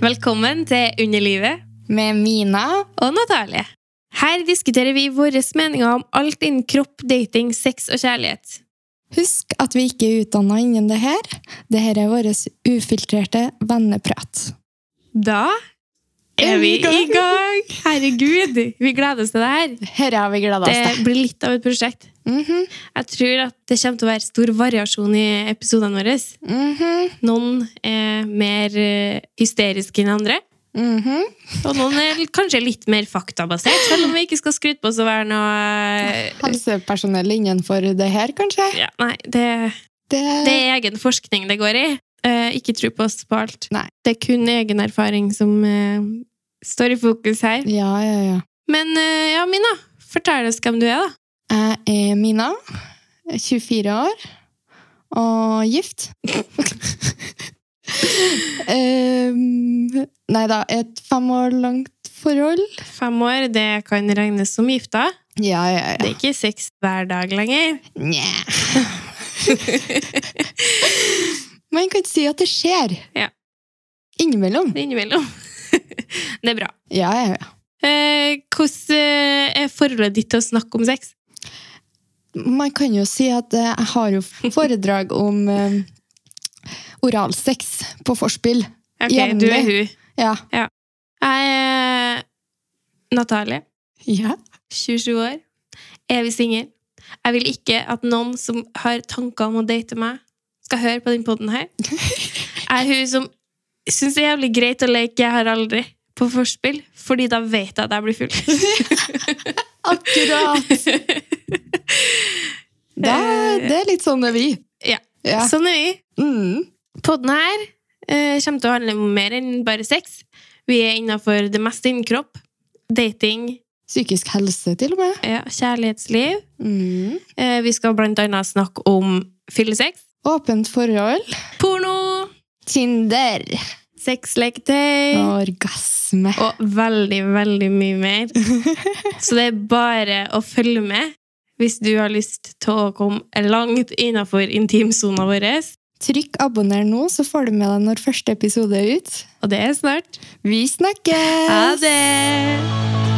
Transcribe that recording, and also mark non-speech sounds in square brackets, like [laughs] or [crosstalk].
Velkommen til Underlivet Med Mina. og Natalie. Her diskuterer vi våre meninger om alt innen kropp, dating, sex og kjærlighet. Husk at vi ikke er utdanna innen det her. Det her er vår ufiltrerte venneprat. Da er vi i gang! Herregud, vi gleder oss til det her. Her har vi gleda oss til. Det blir litt av et prosjekt. Mhm, Jeg tror at det kommer til å være stor variasjon i episodene våre. mhm, Noen er mer eh, hysteriske enn andre. mhm. Og noen er kanskje litt mer faktabasert, selv om vi ikke skal skryte på oss å være noe eh, Helsepersonell innenfor det her, kanskje? ja, Nei, det, Det, det er egen forskning det går i. Eh, ikke tro på oss på alt. Nei. Det er kun egen erfaring som eh, står i fokus her. Ja, ja, ja. Men eh, ja, Mina, fortell oss hvem du er, da. Jeg er Mina, 24 år og [laughs] gift. um, nei da, et fem år langt forhold. Fem år, det kan regnes som gifta. Ja, ja, Det er ikke sex hver dag [laughs] lenger. Nja Man kan si at det skjer. Ja. Innimellom. Innimellom. [laughs] det er bra. Ja, ja, ja. Eh, hvordan eh, er forholdet ditt til å snakke om sex? Man kan jo si at eh, jeg har [laughs] jo foredrag om eh, oralsex på forspill. Ok, Jevnlig. du er hun. Ja. Jeg er Natalie, ja. 27 år, evig singel. Jeg vil ikke at noen som har tanker om å date meg, skal høre på den podden her. Jeg er hun som syns det er jævlig greit å leke 'jeg har aldri' på forspill, fordi da vet jeg at jeg blir full. Akkurat! [laughs] Da, det er litt sånn det er vi. Ja. ja. Sånn er vi. Mm. Podden her eh, kommer til å handle om mer enn bare sex. Vi er innafor det meste innen kropp. Dating, Psykisk helse, til og med. ja, kjærlighetsliv. Mm. Eh, vi skal blant annet snakke om fyllesex, Åpent forhold. porno, Tinder. sexleketøy Orgasme. og veldig, veldig mye mer. Så det er bare å følge med hvis du har lyst til å komme langt innafor intimsona vår. Trykk abonner nå, så får du med deg når første episode er ut. Og det er snart. Vi snakkes! Ha det!